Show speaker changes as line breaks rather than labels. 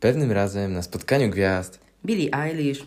Pewnym razem na spotkaniu gwiazd
Billie Eilish,